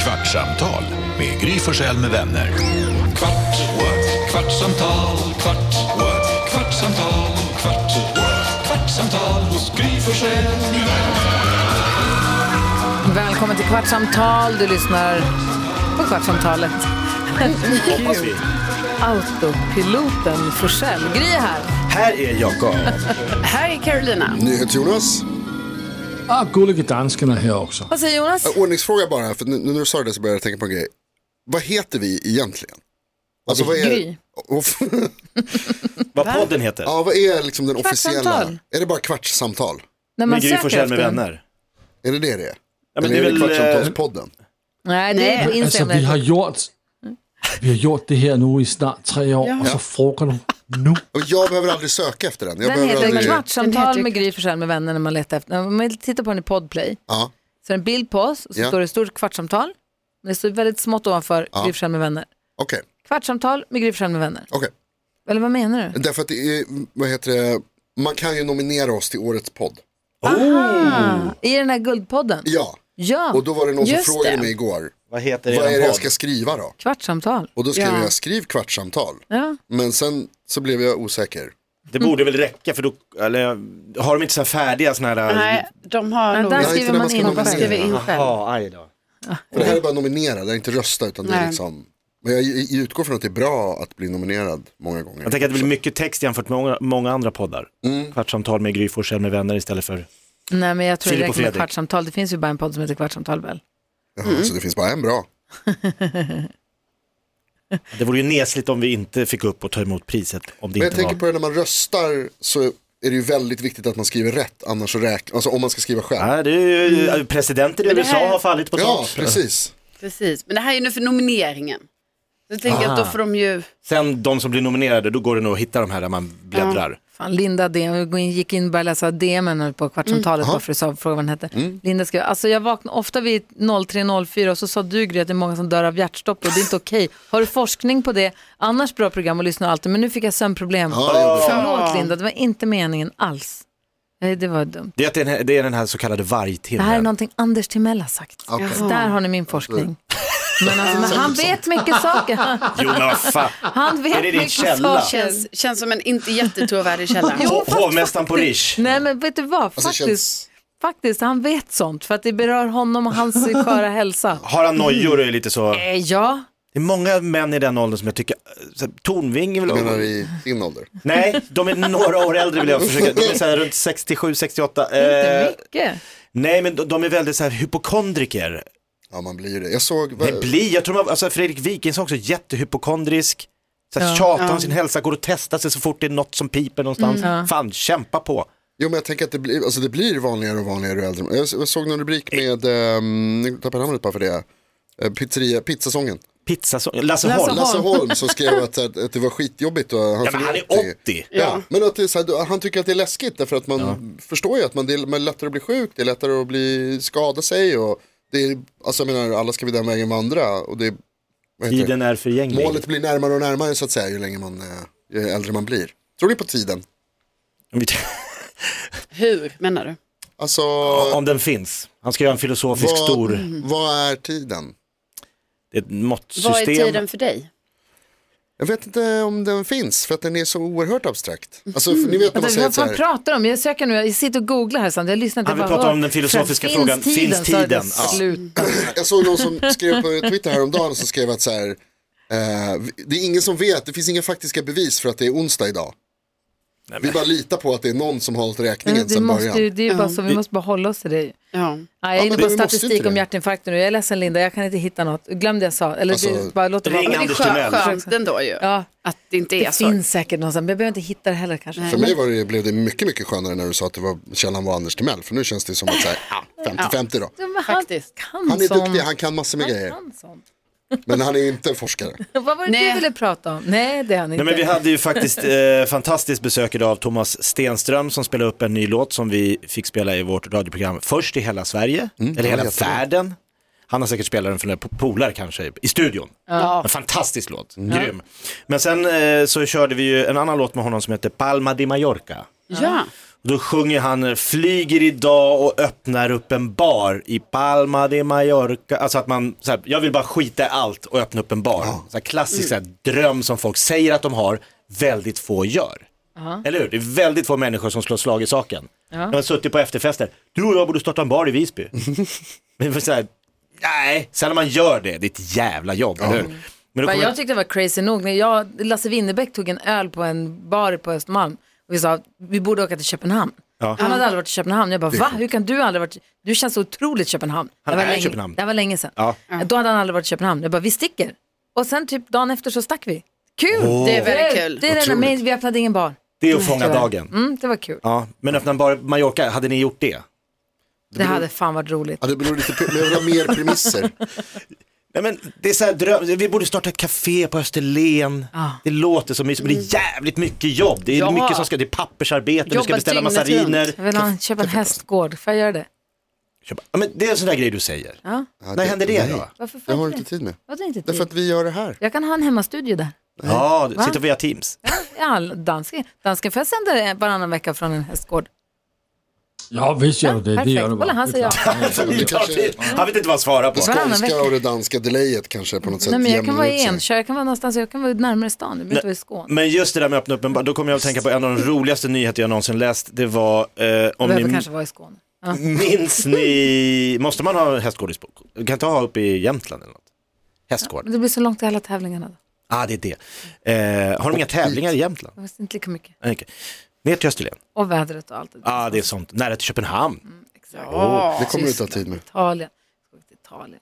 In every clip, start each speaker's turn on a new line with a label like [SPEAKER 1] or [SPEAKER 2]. [SPEAKER 1] Kvartsamtal med Gry Forssell med vänner. Kvart, what? kvartsamtal, kvart, what? kvartsamtal, kvart, what? kvartsamtal hos Gry Forssell med vänner.
[SPEAKER 2] Välkommen till Kvartsamtal. Du lyssnar på Kvartsamtalet.
[SPEAKER 3] Hoppas vi.
[SPEAKER 2] Autopiloten Forsell. Gry är här.
[SPEAKER 3] Här är Jakob.
[SPEAKER 4] Mm.
[SPEAKER 5] Här är Carolina.
[SPEAKER 4] NyhetsJonas.
[SPEAKER 6] Ah, gullige dansken är här också.
[SPEAKER 2] Vad säger Jonas?
[SPEAKER 4] Äh, Ordningsfråga bara, för nu, nu när du sa det så började jag tänka på en grej. Vad heter vi egentligen? Alltså, vad är,
[SPEAKER 2] Gry.
[SPEAKER 4] Och-
[SPEAKER 3] Vad podden heter?
[SPEAKER 4] ja, vad är liksom den officiella?
[SPEAKER 2] Kvartssamtal.
[SPEAKER 4] Är det bara kvartssamtal?
[SPEAKER 2] När
[SPEAKER 3] Med Gry Forssell med
[SPEAKER 2] den.
[SPEAKER 3] vänner.
[SPEAKER 4] Är det det det är?
[SPEAKER 3] Ja, men
[SPEAKER 4] Eller
[SPEAKER 3] det är väl, eh,
[SPEAKER 4] kvartsamtalspodden?
[SPEAKER 2] Nej, det är på
[SPEAKER 6] Alltså,
[SPEAKER 2] Instagram.
[SPEAKER 6] vi har gjort, vi har gjort det här nu i snart tre år och så frågar du nu.
[SPEAKER 4] Och jag behöver aldrig söka efter den. Jag
[SPEAKER 2] Den
[SPEAKER 4] behöver
[SPEAKER 2] heter
[SPEAKER 4] aldrig...
[SPEAKER 5] Den heter
[SPEAKER 2] Kvartsamtal
[SPEAKER 5] ju-
[SPEAKER 2] med Gry Forssell med vänner när man letar efter. Om man tittar på den i Podplay
[SPEAKER 4] Ja,
[SPEAKER 2] så är det en bild på oss och så
[SPEAKER 4] Ja.
[SPEAKER 2] står det stort Kvartsamtal. Men det står väldigt smått ovanför
[SPEAKER 4] Ja.
[SPEAKER 2] Gry Forssell med vänner.
[SPEAKER 4] okej.
[SPEAKER 2] Kvartsamtal med Gry Forssell med vänner.
[SPEAKER 4] okej.
[SPEAKER 2] Eller vad menar du?
[SPEAKER 4] Därför att det är, vad heter det, man kan ju nominera oss till årets podd.
[SPEAKER 2] I den här guldpodden?
[SPEAKER 4] Ja,
[SPEAKER 2] Ja,
[SPEAKER 4] och då var det någon som
[SPEAKER 5] Just
[SPEAKER 4] frågade
[SPEAKER 5] det.
[SPEAKER 4] mig igår.
[SPEAKER 3] Vad heter
[SPEAKER 4] Vad är det
[SPEAKER 3] er
[SPEAKER 4] jag
[SPEAKER 3] podd?
[SPEAKER 4] ska skriva då?
[SPEAKER 2] Kvartsamtal.
[SPEAKER 4] Och då skrev
[SPEAKER 5] Ja.
[SPEAKER 4] jag skriv kvartssamtal.
[SPEAKER 2] Ja.
[SPEAKER 4] Men sen så blev jag osäker.
[SPEAKER 3] Det borde väl räcka för då, eller har de inte så här färdiga såna här...
[SPEAKER 5] Nej, de har
[SPEAKER 2] Men
[SPEAKER 5] nog...
[SPEAKER 2] där
[SPEAKER 4] inte
[SPEAKER 2] skriver
[SPEAKER 4] när
[SPEAKER 2] man
[SPEAKER 4] man ska
[SPEAKER 2] in
[SPEAKER 5] de bara
[SPEAKER 4] nominera.
[SPEAKER 2] själv.
[SPEAKER 5] skriver in själv.
[SPEAKER 3] Jaha, aj då.
[SPEAKER 4] För det här är bara nominera, det är inte rösta utan det är
[SPEAKER 5] Nej.
[SPEAKER 4] liksom. Men jag, jag utgår från att det är bra att bli nominerad många gånger.
[SPEAKER 3] Jag tänker att det blir mycket text jämfört med många, många andra poddar.
[SPEAKER 4] Mm.
[SPEAKER 3] Kvartsamtal med Gry Forssell med vänner istället för...
[SPEAKER 2] Nej, men jag tror det
[SPEAKER 3] Filip och
[SPEAKER 2] räcker med
[SPEAKER 3] Fredrik.
[SPEAKER 2] kvartsamtal. Det finns ju bara en podd som heter Kvartsamtal väl?
[SPEAKER 4] Jaha, Så det finns bara en bra.
[SPEAKER 3] Det vore ju nesligt om vi inte fick upp och ta emot priset om det
[SPEAKER 4] Men jag
[SPEAKER 3] inte
[SPEAKER 4] tänker
[SPEAKER 3] var...
[SPEAKER 4] på det när man röstar så är det ju väldigt viktigt att man skriver rätt. Annars så räknas, alltså om man ska skriva själv.
[SPEAKER 3] Nej, det är ju,
[SPEAKER 4] Mm.
[SPEAKER 3] presidenten i
[SPEAKER 5] Men det
[SPEAKER 3] USA
[SPEAKER 5] här-
[SPEAKER 3] har fallit på
[SPEAKER 4] Ja,
[SPEAKER 3] tak.
[SPEAKER 4] precis.
[SPEAKER 5] Precis, men det här är ju nu för nomineringen. Så jag tänker att
[SPEAKER 2] Ah.
[SPEAKER 5] då får de ju...
[SPEAKER 3] Sen de som blir nominerade, då går det nog att hitta de här där man bläddrar.
[SPEAKER 2] Fan, Linda DM, jag gick in och började läsa DMen på Kvartsamtalet bara för att sa- fråga vad den hette. Linda skrev, alltså jag vaknar ofta vid 03.04 och så sa du Gry att det är många som dör av hjärtstopp och det är inte okej. Har du forskning på det? Annars bra program och lyssna alltid, men nu fick jag sömnproblem.
[SPEAKER 4] Ja, det är jobbigt.
[SPEAKER 2] Förlåt Linda, det var inte meningen alls. Nej, det var dumt.
[SPEAKER 3] Det är, att den här, det är den här så kallade
[SPEAKER 2] Det här är
[SPEAKER 3] vargtimmen.
[SPEAKER 2] någonting Anders Timell har sagt.
[SPEAKER 4] Okej.
[SPEAKER 2] Så där har ni min forskning. Men, alltså, men han vet mycket saker.
[SPEAKER 3] Jo men vad fan.
[SPEAKER 2] Han vet
[SPEAKER 3] Är det din
[SPEAKER 2] mycket
[SPEAKER 3] källa?
[SPEAKER 2] saker.
[SPEAKER 5] Känns, känns som en inte jättetrovärdig källa.
[SPEAKER 3] Ho- Hovmästaren på Rish.
[SPEAKER 2] Nej men vet du vad, faktiskt,
[SPEAKER 4] Alltså, känns-
[SPEAKER 2] faktiskt han vet sånt för att det berör honom och hans sköra hälsa.
[SPEAKER 3] Har han nojor och är lite så.
[SPEAKER 2] Eh, ja,
[SPEAKER 3] Det är många män i den åldern som jag tycker, så här, Tornving är väl...
[SPEAKER 4] Jag menar i din ålder.
[SPEAKER 3] Nej, de är några år äldre vill jag försöka. De är så här runt 67, 68. Eh,
[SPEAKER 2] inte mycket.
[SPEAKER 3] nej men de- de är väldigt så här hypokondriker.
[SPEAKER 4] Ja, man blir ju det. Jag såg,
[SPEAKER 3] Det blir, jag tror man, alltså Fredrik Wikingsson också jättehypokondrisk. Så här, tjatar om sin hälsa, går och testar sig så fort det är något som piper någonstans. Fan, kämpa på.
[SPEAKER 4] jo men jag tänker att det blir, alltså det blir vanligare och vanligare ju äldre. Jag s- jag såg någon rubrik med, ehm, nu tappade jag namnet bara för det, Eh, pizzeria, pizzasången.
[SPEAKER 3] Pizza, så- Lasse Holm.
[SPEAKER 4] Lasse Holm som skrev att, att, att det var skitjobbigt och han,
[SPEAKER 3] Ja, men
[SPEAKER 4] fyllde
[SPEAKER 3] han är 80.
[SPEAKER 4] Ja. Men att det är så här, då- han tycker att det är läskigt därför att man förstår ju att man, det är man är lättare att bli sjuk, det är lättare att bli, skada sig och det är, alltså jag menar alla ska vi den vägen vandra och det är, vad heter
[SPEAKER 3] Tiden är
[SPEAKER 4] det?
[SPEAKER 3] förgänglig.
[SPEAKER 4] Målet blir närmare och närmare så att säga ju längre man, eh, ju äldre man blir. Tror ni på tiden?
[SPEAKER 5] Hur menar du?
[SPEAKER 4] Alltså,
[SPEAKER 3] Om den finns. Han ska göra en filosofisk
[SPEAKER 4] vad,
[SPEAKER 3] stor,
[SPEAKER 4] vad är tiden?
[SPEAKER 3] det är ett måttsystem.
[SPEAKER 5] Vad är tiden för dig?
[SPEAKER 4] Jag vet inte om den finns för att den är så oerhört abstrakt. Alltså för, ni vet när man
[SPEAKER 2] Vänta,
[SPEAKER 4] säger
[SPEAKER 2] vad
[SPEAKER 4] så
[SPEAKER 2] fan
[SPEAKER 4] här,
[SPEAKER 2] pratar om? Jag söker nu, jag sitter och googlar här samtidigt. Jag lyssnar inte.
[SPEAKER 3] Han
[SPEAKER 2] jag
[SPEAKER 3] vill prata
[SPEAKER 2] hör.
[SPEAKER 3] om den filosofiska
[SPEAKER 2] Finns
[SPEAKER 3] frågan, finns
[SPEAKER 2] Så är det
[SPEAKER 3] tiden? Ja.
[SPEAKER 2] Slut.
[SPEAKER 4] jag såg någon som skrev på Twitter häromdagen som skrev att så här, eh, det är ingen som vet, det finns inga faktiska bevis för att det är onsdag idag. Vi bara litar på att det är någon som har hållit räkningen
[SPEAKER 2] Vi
[SPEAKER 4] sedan
[SPEAKER 2] måste,
[SPEAKER 4] början.
[SPEAKER 2] ju- det är ju bara så, vi måste bara hålla oss till det.
[SPEAKER 5] Ja.
[SPEAKER 2] Nej, jag är
[SPEAKER 4] Ja, men
[SPEAKER 2] inne på
[SPEAKER 4] vi måste ju
[SPEAKER 2] statistik
[SPEAKER 4] inte
[SPEAKER 2] om
[SPEAKER 4] det.
[SPEAKER 2] hjärtinfarkter nu. Jag är ledsen Linda, jag kan inte hitta något. Glöm det jag sa. Eller
[SPEAKER 4] Alltså,
[SPEAKER 2] det, bara låt det vara.
[SPEAKER 3] ring
[SPEAKER 2] Men det-
[SPEAKER 3] Anders
[SPEAKER 5] Skö-
[SPEAKER 3] Timell.
[SPEAKER 5] Skönt ändå ju.
[SPEAKER 2] Ja,
[SPEAKER 5] Att det inte är
[SPEAKER 2] det
[SPEAKER 5] så.
[SPEAKER 2] finns säkert någonstans, men jag behöver inte hitta det heller kanske.
[SPEAKER 4] För mig var det, blev det mycket, mycket skönare när du sa att det var, källan var Anders Timell, för nu känns det som att så här, ah, 50-50 då.
[SPEAKER 2] Ja, men
[SPEAKER 5] Faktiskt.
[SPEAKER 2] Han, kan
[SPEAKER 4] Han är
[SPEAKER 2] sånt.
[SPEAKER 4] duktig, han kan massor med
[SPEAKER 3] Eh.
[SPEAKER 2] Han
[SPEAKER 4] grejer,
[SPEAKER 2] kan sånt.
[SPEAKER 4] men han är inte forskare.
[SPEAKER 2] Vad var det du
[SPEAKER 5] Nej.
[SPEAKER 2] ville prata om? Nej, det är han inte.
[SPEAKER 3] Nej, men vi hade ju faktiskt eh, fantastiskt besök idag av Thomas Stenström som spelade upp en ny låt som vi fick spela i vårt radioprogram först i hela Sverige, eller hela
[SPEAKER 4] jättebra.
[SPEAKER 3] världen. Han har säkert spelat den för några po- polare kanske i studion.
[SPEAKER 5] Ja.
[SPEAKER 3] En fantastisk låt, grym. Men sen eh, så körde vi ju en annan låt med honom som heter Palma de Mallorca.
[SPEAKER 5] Ja.
[SPEAKER 3] Då sjunger han “Flyger idag och öppnar upp en bar i Palma de Mallorca”. Alltså att man, så här, jag vill bara skita i allt och öppna upp en bar. Så här, klassisk så här, dröm som folk säger att de har, väldigt få gör. Eller hur? Det är väldigt få människor som slår slag i saken. Jag har suttit på efterfester, du och jag borde starta en bar i Visby. Men så här, nej, sen när man gör det, det är ett jävla jobb, eller hur? Men
[SPEAKER 2] Men
[SPEAKER 3] då kommer-
[SPEAKER 2] jag tyckte det var crazy nog. När jag, Lasse Winnerbäck tog en öl på en bar på Östermalm och vi sa vi borde åka till Köpenhamn. Han hade aldrig varit i Köpenhamn. Jag bara, va? Hur kan du aldrig varit? Du känns så otroligt Köpenhamn.
[SPEAKER 3] Han
[SPEAKER 2] det var
[SPEAKER 3] är i
[SPEAKER 2] länge,
[SPEAKER 3] Köpenhamn.
[SPEAKER 2] Det här var länge sedan.
[SPEAKER 3] Ja.
[SPEAKER 2] Då hade han aldrig varit i Köpenhamn. Jag bara, vi sticker. Och sen typ dagen efter så stack vi. Kul!
[SPEAKER 5] Det är väldigt kul.
[SPEAKER 2] Det är den
[SPEAKER 4] Otroligt.
[SPEAKER 2] amazing, vi öppnade ingen bar.
[SPEAKER 3] det är att fånga dagen.
[SPEAKER 2] Mm, det var kul.
[SPEAKER 3] Ja, men öppna en bar i Mallorca, hade ni gjort det?
[SPEAKER 2] Det hade fan varit roligt.
[SPEAKER 4] Ja, det beror lite på, men jag vill ha mer premisser.
[SPEAKER 3] Nej men det är så här dröm, vi borde starta ett café på Österlen. Det låter så mysigt, men det är jävligt mycket jobb. Det är
[SPEAKER 5] Ja.
[SPEAKER 3] mycket som ska, det är pappersarbete, du ska
[SPEAKER 5] Jobba
[SPEAKER 3] beställa
[SPEAKER 5] dygnet
[SPEAKER 3] massariner.
[SPEAKER 5] runt.
[SPEAKER 2] Jag vill ha, köpa en hästgård. Får jag göra det?
[SPEAKER 3] Köpa- Ja, men det är en sån där grej du säger.
[SPEAKER 2] Ja.
[SPEAKER 4] Ja,
[SPEAKER 3] När hände det
[SPEAKER 4] nej,
[SPEAKER 3] då?
[SPEAKER 2] Varför får
[SPEAKER 4] Det har
[SPEAKER 2] jag
[SPEAKER 4] du inte
[SPEAKER 2] inte det?
[SPEAKER 4] tid med.
[SPEAKER 2] Vadå inte
[SPEAKER 4] Därför
[SPEAKER 2] tid?
[SPEAKER 4] att vi gör det här.
[SPEAKER 2] Jag kan ha en hemmastudio där.
[SPEAKER 3] Ja, du
[SPEAKER 2] Va?
[SPEAKER 3] sitter via Teams.
[SPEAKER 2] All danska. Dansken får jag sända varannan vecka från en hästgård.
[SPEAKER 6] Ja, visst gör du det. Det
[SPEAKER 2] perfekt.
[SPEAKER 6] gör du
[SPEAKER 2] Kolla, han säger ja.
[SPEAKER 4] det kanske-
[SPEAKER 3] Han vet inte vad han svarar på.
[SPEAKER 4] Det
[SPEAKER 2] Varannan
[SPEAKER 4] skånska
[SPEAKER 2] vecka.
[SPEAKER 4] och det danska delayet kanske på något sätt
[SPEAKER 2] Nej, men jag kan
[SPEAKER 4] jämnar
[SPEAKER 2] vara
[SPEAKER 4] ut sig.
[SPEAKER 2] i Enköping, jag kan vara någonstans, jag kan vara närmare stan, jag behöver inte vara i Skåne.
[SPEAKER 3] Men just det där med att öppna upp en bar, då kommer jag att tänka på en av de roligaste nyheter jag någonsin läst. Det var eh,
[SPEAKER 2] Jag
[SPEAKER 3] om
[SPEAKER 2] behöver
[SPEAKER 3] ni
[SPEAKER 2] kanske vara i Skåne. Ja.
[SPEAKER 3] minns ni, måste man ha hästgård i Spok? Du kan inte ha uppe i Jämtland eller något? Hästgård?
[SPEAKER 2] Men det blir så långt till alla tävlingarna då.
[SPEAKER 3] Ah, det är det. Eh, har de inga tävlingar i Jämtland?
[SPEAKER 2] Jag visste inte lika mycket.
[SPEAKER 3] Nej, Eh, okej. Ner till Österlen.
[SPEAKER 2] Och vädret och allt det där.
[SPEAKER 3] ah, det är sånt. Nära till Köpenhamn.
[SPEAKER 5] Oh,
[SPEAKER 4] Det kommer du inte ha tid med.
[SPEAKER 2] Italien. Jag ska åka till Italien.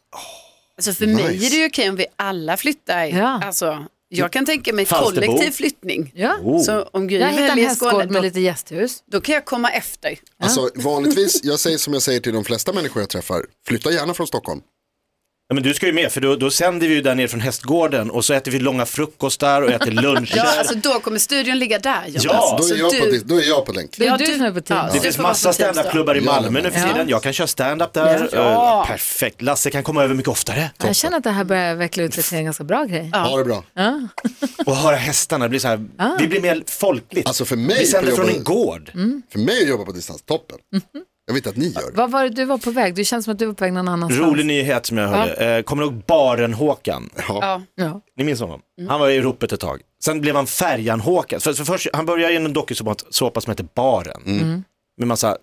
[SPEAKER 5] Alltså för mig
[SPEAKER 4] Nice.
[SPEAKER 5] är det ju okej om vi alla flyttar.
[SPEAKER 2] Ja.
[SPEAKER 5] Alltså, jag kan tänka mig
[SPEAKER 3] Falsterbo.
[SPEAKER 5] kollektiv flyttning.
[SPEAKER 2] Ja.
[SPEAKER 3] Oh.
[SPEAKER 5] Så om Gry
[SPEAKER 2] Jag hittar en
[SPEAKER 5] väljer Skåne,
[SPEAKER 2] hästgård
[SPEAKER 5] då,
[SPEAKER 2] med lite gästhus.
[SPEAKER 5] då kan jag komma efter.
[SPEAKER 4] Alltså vanligtvis, jag säger som jag säger till de flesta människor jag träffar, flytta gärna från Stockholm.
[SPEAKER 3] Ja, men du ska ju med, för då, då sänder vi ju där nere från hästgården och så äter vi långa frukostar och äter luncher.
[SPEAKER 5] Ja, alltså då kommer studion ligga där Jonas.
[SPEAKER 3] Ja,
[SPEAKER 4] Alltså, Då
[SPEAKER 5] Så
[SPEAKER 4] är jag, på,
[SPEAKER 5] du-
[SPEAKER 4] di- då är jag på länk.
[SPEAKER 2] Det är
[SPEAKER 5] Ja,
[SPEAKER 2] du
[SPEAKER 5] du-
[SPEAKER 2] som är på
[SPEAKER 5] ja,
[SPEAKER 2] tid.
[SPEAKER 3] det
[SPEAKER 5] du
[SPEAKER 3] finns
[SPEAKER 5] får vara
[SPEAKER 3] massa
[SPEAKER 5] på Tensta.
[SPEAKER 3] standupklubbar i Malmö nu för
[SPEAKER 2] Ja.
[SPEAKER 3] tiden. Jag kan köra standup där.
[SPEAKER 5] Ja.
[SPEAKER 3] Eh, perfekt. Lasse kan komma över mycket oftare.
[SPEAKER 2] Jag känner att det här börjar veckla ut sig till en ganska bra grej.
[SPEAKER 4] Ha det bra.
[SPEAKER 3] Och höra hästarna. Det blir så här, Vi blir mer folkligt.
[SPEAKER 4] Alltså för mig
[SPEAKER 3] vi sänder
[SPEAKER 4] på
[SPEAKER 3] från
[SPEAKER 4] jobbet-
[SPEAKER 3] en gård.
[SPEAKER 5] Mm.
[SPEAKER 4] För mig att jobba på distans, toppen.
[SPEAKER 5] Mhm.
[SPEAKER 4] Jag vet att ni gör.
[SPEAKER 2] Vad var det du var på väg? Du känns som att du var på väg någon annanstans.
[SPEAKER 3] Rolig nyhet som jag hörde. Eh, kommer du ihåg Baren-Håkan?
[SPEAKER 5] Ja.
[SPEAKER 2] Ja.
[SPEAKER 3] Ni minns honom? Han var i ropet ett tag. Sen blev han Färjan-Håkan. För, för först, han började i en dokusåpa som heter Baren. Med massa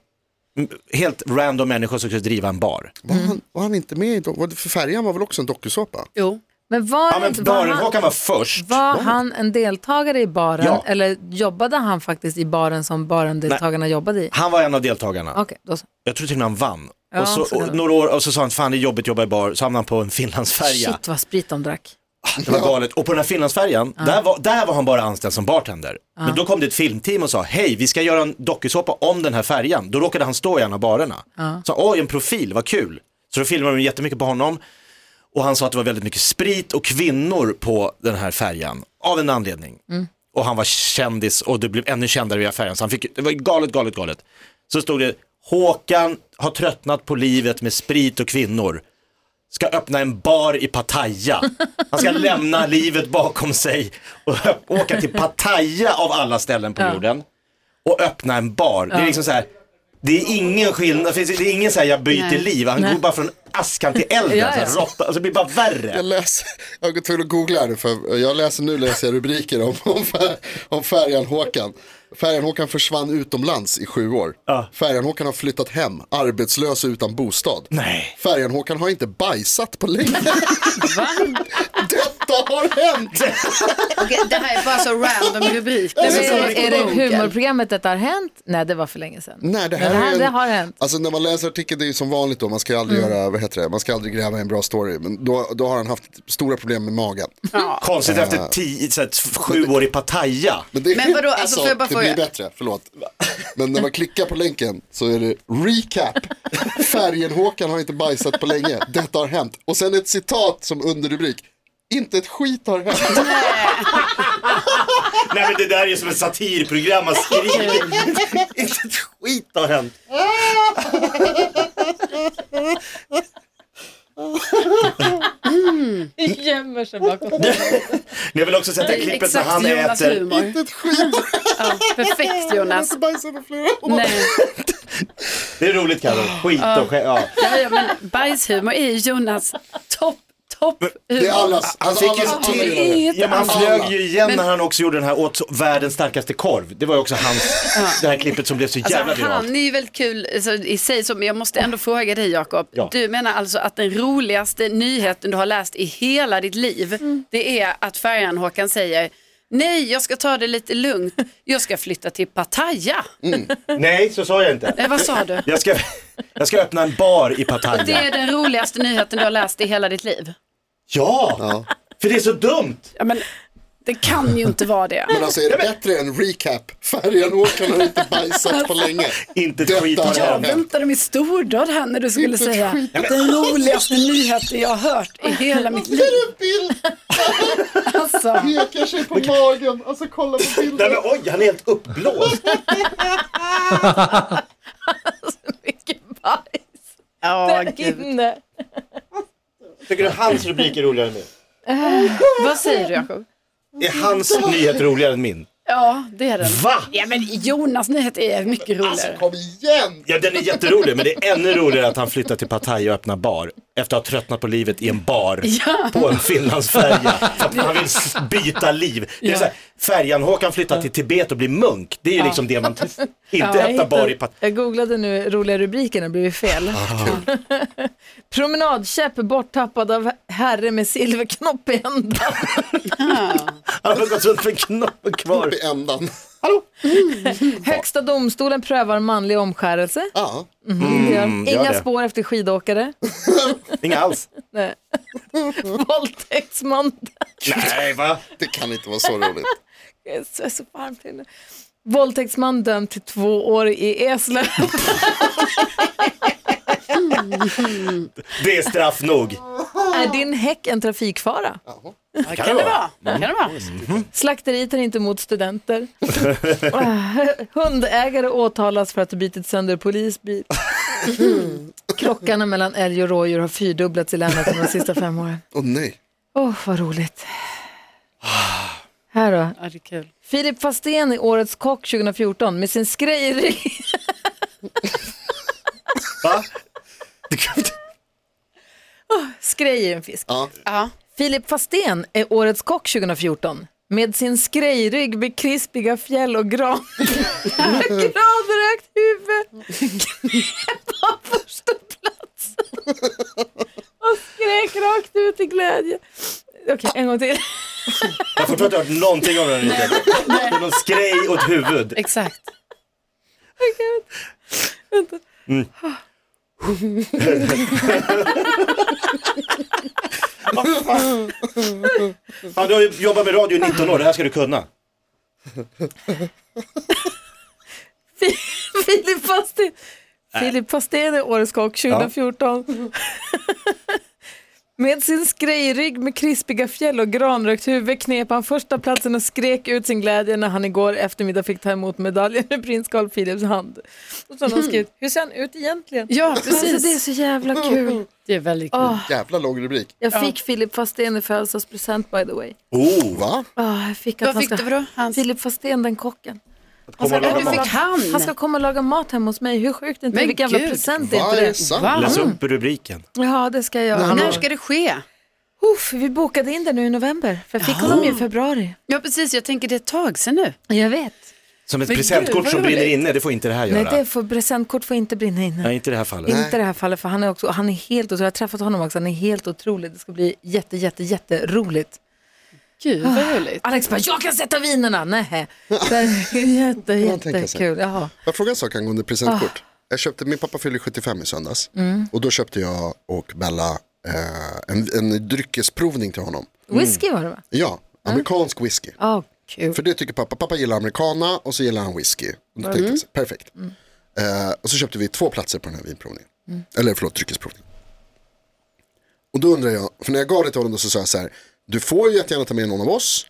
[SPEAKER 3] m- helt random människor som skulle driva en bar.
[SPEAKER 4] Var, han, var han inte med i, do- var det- för färjan var väl också en dokusåpa?
[SPEAKER 5] Jo.
[SPEAKER 2] Men var,
[SPEAKER 3] Ja
[SPEAKER 2] det
[SPEAKER 3] men
[SPEAKER 2] inte, var, han,
[SPEAKER 3] Baren-Håkan var först.
[SPEAKER 2] var han en deltagare i baren
[SPEAKER 3] Ja.
[SPEAKER 2] eller jobbade han faktiskt i baren som barendeltagarna jobbade i?
[SPEAKER 3] Han var en av deltagarna.
[SPEAKER 2] Okej, då så.
[SPEAKER 3] Jag tror till och med han vann.
[SPEAKER 2] Ja,
[SPEAKER 3] och
[SPEAKER 2] så
[SPEAKER 3] så,
[SPEAKER 2] kan det
[SPEAKER 3] och, några år, och så sa han, fan det är jobbigt att jobba i bar, så hamnade han på en Finlandsfärja.
[SPEAKER 2] Shit vad sprit de drack.
[SPEAKER 3] Det var galet. Och på den här Finlandsfärjan, där, var, där var han bara anställd som bartender. Men då kom det ett filmteam och sa, hej vi ska göra en dokusåpa om den här färjan. Då råkade han stå i en av barerna. Så, oj en profil, vad kul. Så då filmade de jättemycket på honom. Och han sa att det var väldigt mycket sprit och kvinnor på den här färjan, av en anledning. Och han var kändis och det blev ännu kändare via färjan, så han fick, det var galet, galet, galet. Så stod det, Håkan har tröttnat på livet med sprit och kvinnor ska öppna en bar i Pattaya. Han ska lämna livet bakom sig och ö- åka till Pattaya av alla ställen på jorden och öppna en bar. Det är liksom så här, det är ingen skillnad, det är ingen så här jag byter
[SPEAKER 5] Nej.
[SPEAKER 3] liv, han går bara från askan till elden.
[SPEAKER 2] Ja, ja.
[SPEAKER 3] Så här, råtta, alltså, det blir bara
[SPEAKER 4] Jag
[SPEAKER 3] värre.
[SPEAKER 4] läser, jag var tvungen att googla här nu för jag läser nu läser jag rubriker om, om, fär, om färjan Håkan. Färjan Håkan försvann utomlands i sju år.
[SPEAKER 3] Ja.
[SPEAKER 4] Färjan Håkan har flyttat hem, arbetslös och utan bostad.
[SPEAKER 3] Nej.
[SPEAKER 4] Färjan Håkan har inte bajsat på länge. Detta har hänt!
[SPEAKER 5] Okej, det här är bara så random rubriker.
[SPEAKER 2] Men
[SPEAKER 5] som
[SPEAKER 2] är,
[SPEAKER 5] kommer
[SPEAKER 2] det- är
[SPEAKER 5] från
[SPEAKER 2] det
[SPEAKER 5] boken.
[SPEAKER 2] humorprogrammet detta har hänt? Nej, det var för länge sedan.
[SPEAKER 4] Nej, det
[SPEAKER 2] Men
[SPEAKER 4] här, är en,
[SPEAKER 2] det har hänt.
[SPEAKER 4] Alltså när man läser artikeln, det är ju som vanligt då, man ska ju aldrig
[SPEAKER 5] Mm.
[SPEAKER 4] göra, vad heter det, man ska aldrig gräva i en bra story. Men då, då har han haft stora problem med magen.
[SPEAKER 3] Konstigt efter tio, så här, t- sju år i Pattaya.
[SPEAKER 4] Men, det,
[SPEAKER 5] Men vadå, alltså, får jag bara
[SPEAKER 4] det
[SPEAKER 5] fråga?
[SPEAKER 4] blir bättre, förlåt. Men när man klickar på länken så är det recap. Färgen Håkan har inte bajsat på länge, detta har hänt. Och sen ett citat som underrubrik. Inte ett skit har hänt.
[SPEAKER 3] Nej men det där är ju som ett satirprogram, man skriver inte ett skit har hänt.
[SPEAKER 2] Gömmer sig bakom.
[SPEAKER 3] Ni har väl också sett det här klippet när
[SPEAKER 5] Exakt
[SPEAKER 3] han
[SPEAKER 5] Jonas
[SPEAKER 3] äter
[SPEAKER 5] humor.
[SPEAKER 4] Inte ett skit.
[SPEAKER 5] Perfekt
[SPEAKER 4] Jag har
[SPEAKER 5] Jonas.
[SPEAKER 4] inte bajsat på flera år.
[SPEAKER 5] Nej.
[SPEAKER 3] Det är roligt Carro, skit och skämt. Ja.
[SPEAKER 5] Ja, ja, men bajshumor är ju Jonas topp, topp
[SPEAKER 4] Det är
[SPEAKER 5] humor.
[SPEAKER 4] allas. Alltså,
[SPEAKER 3] fick ju
[SPEAKER 4] allas
[SPEAKER 3] till-
[SPEAKER 4] anledningar.
[SPEAKER 5] Inget
[SPEAKER 3] Ja, men han
[SPEAKER 4] Alla.
[SPEAKER 3] flög ju igen när han också gjorde den här åt världens starkaste korv. Det var ju också hans, det här klippet som blev så jävla
[SPEAKER 5] Alltså,
[SPEAKER 3] viralt.
[SPEAKER 5] han är ju väldigt kul alltså, i sig, så, men jag måste ändå fråga dig Jakob.
[SPEAKER 3] Ja.
[SPEAKER 5] Du menar alltså att den roligaste nyheten du har läst i hela ditt liv,
[SPEAKER 4] Mm.
[SPEAKER 5] det är att färjan Håkan säger Nej, jag ska ta det lite lugnt. Jag ska flytta till Pattaya.
[SPEAKER 3] Nej, så sa jag inte.
[SPEAKER 5] Eh, vad sa du?
[SPEAKER 3] Jag ska, jag ska öppna en bar i
[SPEAKER 5] Det är
[SPEAKER 3] Pattaya.
[SPEAKER 5] den roligaste nyheten du har läst i hela ditt liv.
[SPEAKER 3] Ja, för det är så dumt.
[SPEAKER 5] Ja, men, det kan ju inte vara det.
[SPEAKER 4] Men alltså är det bättre än recap? Färjan Håkan har inte bajsat på
[SPEAKER 3] Alltså,
[SPEAKER 4] länge.
[SPEAKER 3] Inte ett
[SPEAKER 4] Detta
[SPEAKER 3] skit har
[SPEAKER 4] är
[SPEAKER 3] hänt.
[SPEAKER 4] jag.
[SPEAKER 5] väntade mig stordåd här när du skulle säga att den roligaste nyheten jag har hört i hela mitt liv.
[SPEAKER 4] Ser du bild?
[SPEAKER 5] Alltså.
[SPEAKER 4] Pekar sig på magen. Alltså kolla på
[SPEAKER 3] Nej
[SPEAKER 4] bilden.
[SPEAKER 3] men oj, han är helt uppblåst.
[SPEAKER 2] Vilket bajs
[SPEAKER 5] Ja, gud.
[SPEAKER 2] inne.
[SPEAKER 3] Tycker du hans rubrik är roligare än min?
[SPEAKER 5] Vad säger du Jakob?
[SPEAKER 3] Är hans nyhet roligare än min?
[SPEAKER 5] Ja, det är den.
[SPEAKER 3] Va?
[SPEAKER 5] Ja, men Jonas nyhet är mycket roligare.
[SPEAKER 4] Alltså, Kom igen!
[SPEAKER 3] Ja den är jätterolig men det är ännu roligare att han flyttar till Pattaya och öppnar bar. Efter att ha tröttnat på livet i en bar på en Finlandsfärja. För att han vill s- byta liv. Det är så här, färjan Håkan flyttar till Tibet och blir munk. Det är ju liksom det man inte öppnar bar i Pattaya.
[SPEAKER 2] Jag googlade nu roliga rubriker och blivit fel. Promenadkäpp borttappad av herre med silverknopp i ändan.
[SPEAKER 3] Han har gått runt med knoppen kvar.
[SPEAKER 4] Upp i ändan.
[SPEAKER 2] Högsta domstolen prövar manlig omskärelse.
[SPEAKER 4] Ja.
[SPEAKER 2] Det gör de.
[SPEAKER 3] gör
[SPEAKER 2] Inga
[SPEAKER 3] det.
[SPEAKER 2] spår efter skidåkare.
[SPEAKER 3] Inga alls.
[SPEAKER 2] Våldtäktsman.
[SPEAKER 3] Nej va?
[SPEAKER 4] Det kan inte vara så roligt.
[SPEAKER 2] Jag är så, jag är så varmt inne. Våldtäktsman dömd till två år i Eslöv.
[SPEAKER 3] Det är straff nog.
[SPEAKER 2] Är din häck en trafikfara?
[SPEAKER 5] Kan det vara? Kan det vara?
[SPEAKER 2] Slakteriet tar inte emot studenter. Hundägare åtalas för att ha bitit sönder polisbil. Krockarna mellan älg och rådjur har fyrdubblats i länet under de sista fem åren.
[SPEAKER 4] Åh nej.
[SPEAKER 2] Åh, vad roligt. Här då.
[SPEAKER 5] Ja, det är kul.
[SPEAKER 2] Filip Fastén är årets kock 2014 med sin skrejeri.
[SPEAKER 3] Va?
[SPEAKER 2] Skrej är en fisk.
[SPEAKER 4] Ja.
[SPEAKER 5] Ja.
[SPEAKER 2] Filip Fastén är årets kock 2014 med sin skrejrygg med krispiga fjäll och gran. Granrökt huvud. Knep av första platsen. Och skrek rakt ut i glädje. Okej, en gång till.
[SPEAKER 3] Jag har fortfarande inte hört någonting om den här nyheten. Det är någon skrej åt huvud.
[SPEAKER 5] Exakt.
[SPEAKER 3] Ja, du har ju jobbat med radio i 19 år, det här ska du kunna.
[SPEAKER 2] Fi- Filip Fastén. Filip Fastén är årets kock 2014. Med sin skrejrygg med krispiga fjäll och granrökt huvud knep han första platsen och skrek ut sin glädje när han igår eftermiddag fick ta emot medaljen ur prins Carl Philips hand. Och så har någon skrivit, hur ser han ut egentligen?
[SPEAKER 5] Ja,
[SPEAKER 2] Alltså, det är
[SPEAKER 5] precis.
[SPEAKER 2] så jävla kul.
[SPEAKER 5] Det är väldigt kul.
[SPEAKER 4] Jävla lång rubrik.
[SPEAKER 2] Jag fick Filip Fastén i födelsedagspresent by the way.
[SPEAKER 3] Oh,
[SPEAKER 4] Va?
[SPEAKER 2] Oh, jag fick att
[SPEAKER 5] Vad
[SPEAKER 2] han
[SPEAKER 5] fick
[SPEAKER 2] ska...
[SPEAKER 5] du för då? Hans?
[SPEAKER 2] Filip Fastén, den kocken.
[SPEAKER 3] kommer och laga
[SPEAKER 5] Ja, Alltså, du
[SPEAKER 3] mat.
[SPEAKER 5] fick han.
[SPEAKER 2] Han ska komma och laga mat hemma hos mig. Hur sjukt är inte det?
[SPEAKER 5] Men
[SPEAKER 2] Vilken jävla
[SPEAKER 5] gud.
[SPEAKER 2] present är
[SPEAKER 4] Va,
[SPEAKER 2] inte
[SPEAKER 4] är det
[SPEAKER 2] det?
[SPEAKER 4] sant?
[SPEAKER 5] Va?
[SPEAKER 3] Läs upp rubriken.
[SPEAKER 2] Ja, det ska jag göra.
[SPEAKER 5] När ska det ske?
[SPEAKER 2] Uff, vi bokade in det nu i november, för jag fick honom ju i februari.
[SPEAKER 5] Ja, precis. Jag tänker det är ett tag sedan nu.
[SPEAKER 2] Jag vet.
[SPEAKER 3] Som ett
[SPEAKER 5] Men gud,
[SPEAKER 3] presentkort
[SPEAKER 5] vad
[SPEAKER 3] som brinner
[SPEAKER 5] roligt.
[SPEAKER 3] inne, det får inte det här
[SPEAKER 2] Nej,
[SPEAKER 3] göra.
[SPEAKER 2] det får, presentkort får inte brinna inne.
[SPEAKER 3] Nej, inte i det här fallet.
[SPEAKER 2] Inte i det här fallet, för han är, också, han är helt otrolig. Jag har träffat honom också, han är helt otrolig. Det ska bli jätte, jätte, jätteroligt.
[SPEAKER 5] Gud, vad roligt.
[SPEAKER 2] Alex bara, jag kan sätta vinerna! Nej. Det är jätte,
[SPEAKER 4] man tänka sig.
[SPEAKER 2] jättekul. Jaha.
[SPEAKER 4] Jag frågar en sak angående
[SPEAKER 3] Ah.
[SPEAKER 4] presentkort. Jag köpte, min pappa fyllde 75 i söndags.
[SPEAKER 3] Mm.
[SPEAKER 4] Och då köpte jag och Bella eh, en, en dryckesprovning till honom.
[SPEAKER 2] Whisky var det va?
[SPEAKER 3] Mm.
[SPEAKER 4] Ja, amerikansk whisky.
[SPEAKER 2] Ja, kul.
[SPEAKER 4] För det tycker pappa. Pappa gillar americana och så gillar han whisky. Och då
[SPEAKER 2] Mm.
[SPEAKER 4] tänkte jag så, perfekt. Eh, och så köpte vi två platser på den här vinprovningen.
[SPEAKER 2] Mm.
[SPEAKER 4] Eller förlåt, dryckesprovningen. Och då undrar jag, för när jag gav det till honom då så sa jag så här, du får ju jättegärna ta med någon av oss.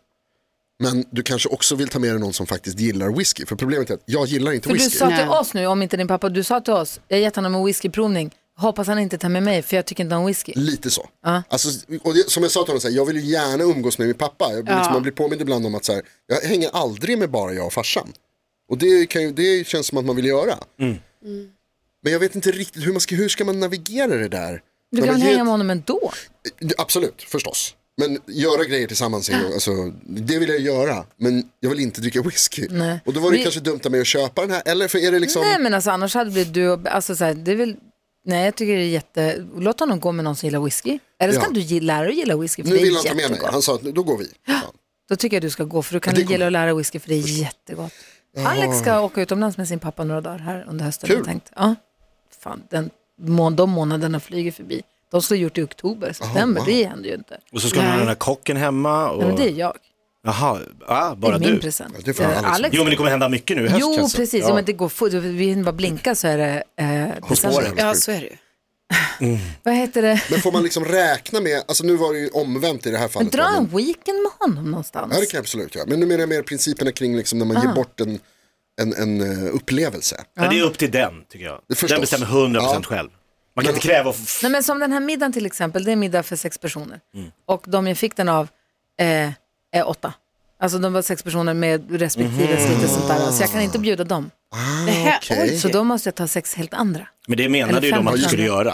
[SPEAKER 4] Men du kanske också vill ta med dig någon som faktiskt gillar whisky. För problemet är att jag gillar inte
[SPEAKER 2] För du
[SPEAKER 4] whisky.
[SPEAKER 2] sa till
[SPEAKER 5] Nej.
[SPEAKER 2] oss nu, om inte din pappa, du sa till oss, jag har gett honom en whiskyprovning, Hoppas han inte tar med mig för jag tycker inte om whisky.
[SPEAKER 4] Lite så. Alltså, och det, som jag sa till honom, så här, jag vill ju gärna umgås med min pappa. Jag, blir liksom, man blir påmind ibland om att så här, jag hänger aldrig med bara jag och farsan. Och det, kan ju, det känns som att man vill göra. Men jag vet inte riktigt hur, man ska, hur ska man navigera det där.
[SPEAKER 2] Du kan
[SPEAKER 4] När
[SPEAKER 2] väl
[SPEAKER 4] man
[SPEAKER 2] hänga
[SPEAKER 4] ger-
[SPEAKER 2] med honom ändå?
[SPEAKER 4] Absolut, förstås. Men göra grejer tillsammans, är ju, alltså, det vill jag göra. Men jag vill inte dricka whisky.
[SPEAKER 2] Nej.
[SPEAKER 4] Och då var det
[SPEAKER 2] Vi-
[SPEAKER 4] kanske dumt av mig att köpa den här. Eller för är det liksom...
[SPEAKER 2] Nej men alltså annars hade det blivit du och, alltså så här, det är väl, nej jag tycker det är jätte, låt honom gå med någon som gillar whisky. Eller så
[SPEAKER 4] Ja.
[SPEAKER 2] kan du ge- lära dig att gilla whisky för
[SPEAKER 4] nu
[SPEAKER 2] det är
[SPEAKER 4] vill han ta
[SPEAKER 2] jättegott.
[SPEAKER 4] med mig. Han sa att då går vi. Ja.
[SPEAKER 2] Då tycker jag du ska gå för du kan
[SPEAKER 4] det kommer-
[SPEAKER 2] gilla att lära dig whisky för det är jättegott. Alex ska åka utomlands med sin pappa några dagar här under hösten.
[SPEAKER 4] Kul.
[SPEAKER 2] jag Tänkt. Ja. Fan, den, må- de månaderna flyger förbi. De skulle ha gjort det i oktober, september, det händer ju inte.
[SPEAKER 3] Och så ska man ha den här kocken hemma. Och...
[SPEAKER 2] Nej, men det är jag,
[SPEAKER 3] Jaha, ah,
[SPEAKER 2] det
[SPEAKER 3] bara
[SPEAKER 2] är min
[SPEAKER 3] du.
[SPEAKER 2] present. Eh,
[SPEAKER 4] det får Alex-
[SPEAKER 3] Jo, men det kommer hända mycket nu i höst.
[SPEAKER 2] Jo,
[SPEAKER 3] känns det.
[SPEAKER 2] precis. Ja.
[SPEAKER 3] Ja.
[SPEAKER 2] men det går fort. Vi hinner bara blinka så är det eh,
[SPEAKER 4] Hos
[SPEAKER 2] december.
[SPEAKER 4] våren.
[SPEAKER 5] Ja, så är det ju.
[SPEAKER 2] Vad heter det?
[SPEAKER 4] Men får man liksom räkna med, alltså nu var det ju omvänt i det här fallet.
[SPEAKER 2] Dra
[SPEAKER 4] va, men-
[SPEAKER 2] en weekend med honom någonstans.
[SPEAKER 4] Ja det kan jag absolut göra. Men nu menar jag mer principerna kring liksom när man ger bort en, en, en eh, upplevelse.
[SPEAKER 3] Men det är upp till den, tycker jag.
[SPEAKER 4] Förstås.
[SPEAKER 3] Den bestämmer 100%
[SPEAKER 4] Ja.
[SPEAKER 3] själv. Man kan inte kräva... att f-
[SPEAKER 2] Nej, men som den här middagen till exempel, det är en middag för sex personer.
[SPEAKER 4] Mm.
[SPEAKER 2] Och de jag fick den av eh, är åtta. Alltså de var sex personer med respektive
[SPEAKER 4] Mm.
[SPEAKER 2] lite sånt där. Så jag kan inte bjuda dem.
[SPEAKER 5] Det här,
[SPEAKER 4] okej.
[SPEAKER 5] oj,
[SPEAKER 2] Så då måste jag ta sex helt andra.
[SPEAKER 3] Men det menade ju de att du skulle göra.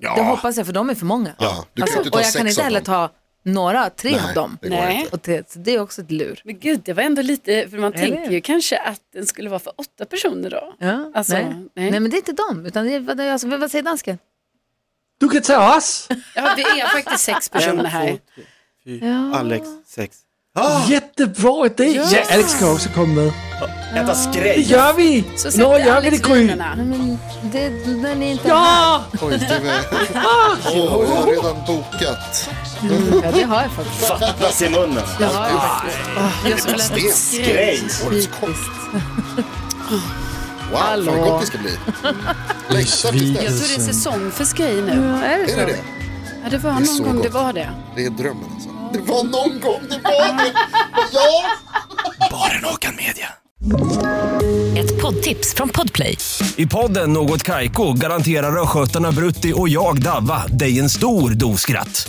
[SPEAKER 2] Det hoppas jag för de är för många.
[SPEAKER 4] Ja, du kan
[SPEAKER 2] Alltså,
[SPEAKER 4] inte
[SPEAKER 2] och
[SPEAKER 4] ta
[SPEAKER 2] jag kan
[SPEAKER 4] sex
[SPEAKER 2] inte
[SPEAKER 4] av
[SPEAKER 2] heller
[SPEAKER 4] dem.
[SPEAKER 2] ta några, tre av dem.
[SPEAKER 4] det går
[SPEAKER 5] Nej.
[SPEAKER 4] inte.
[SPEAKER 2] Och det, så det är också ett lur.
[SPEAKER 5] men gud, det var ändå lite, för man
[SPEAKER 2] Eller?
[SPEAKER 5] tänker ju kanske att den skulle vara för åtta personer då.
[SPEAKER 2] Ja,
[SPEAKER 5] Alltså,
[SPEAKER 2] nej. Nej.
[SPEAKER 5] nej.
[SPEAKER 2] men det är inte dem. Utan det är, vad- alltså, vad säger dansken?
[SPEAKER 6] Du kan ta oss!
[SPEAKER 5] Ja, vi är faktiskt sex personer här.
[SPEAKER 3] Alex, sex.
[SPEAKER 6] Jättebra idé! Ja, Alex ska också komma med.
[SPEAKER 3] Äta
[SPEAKER 6] Det
[SPEAKER 3] skräp.
[SPEAKER 6] gör vi!
[SPEAKER 5] Så
[SPEAKER 6] Nå,
[SPEAKER 5] sätter
[SPEAKER 6] gör vi
[SPEAKER 5] Alex
[SPEAKER 6] det Gry!
[SPEAKER 5] vinerna.
[SPEAKER 2] Nej, men det, när ni inte är här.
[SPEAKER 6] Ja!
[SPEAKER 4] Oj, det är... Åh, jag har redan bokat.
[SPEAKER 2] Ja, det har jag faktiskt.
[SPEAKER 3] Vattnas i munnen.
[SPEAKER 2] Det har jag faktiskt. Åh, jag skulle vilja
[SPEAKER 4] Sten.
[SPEAKER 3] Grej.
[SPEAKER 2] Typiskt.
[SPEAKER 4] Wow, fan vad gott det ska bli. Längtar tills
[SPEAKER 5] Jag
[SPEAKER 4] dess.
[SPEAKER 5] tror det är säsong för skrej nu.
[SPEAKER 2] Ja, är det
[SPEAKER 4] Är det
[SPEAKER 2] så?
[SPEAKER 4] det?
[SPEAKER 5] Ja, det var
[SPEAKER 4] är så
[SPEAKER 5] någon gång det
[SPEAKER 4] gott.
[SPEAKER 5] var det.
[SPEAKER 4] Det är drömmen alltså. Det var någon gång, det var det. Ja!
[SPEAKER 3] Baren Håkan Media.
[SPEAKER 7] Ett poddtips från Podplay.
[SPEAKER 8] I podden Något Kaiko garanterar östgötarna Brutti och jag, Davva, dig en stor dos skratt.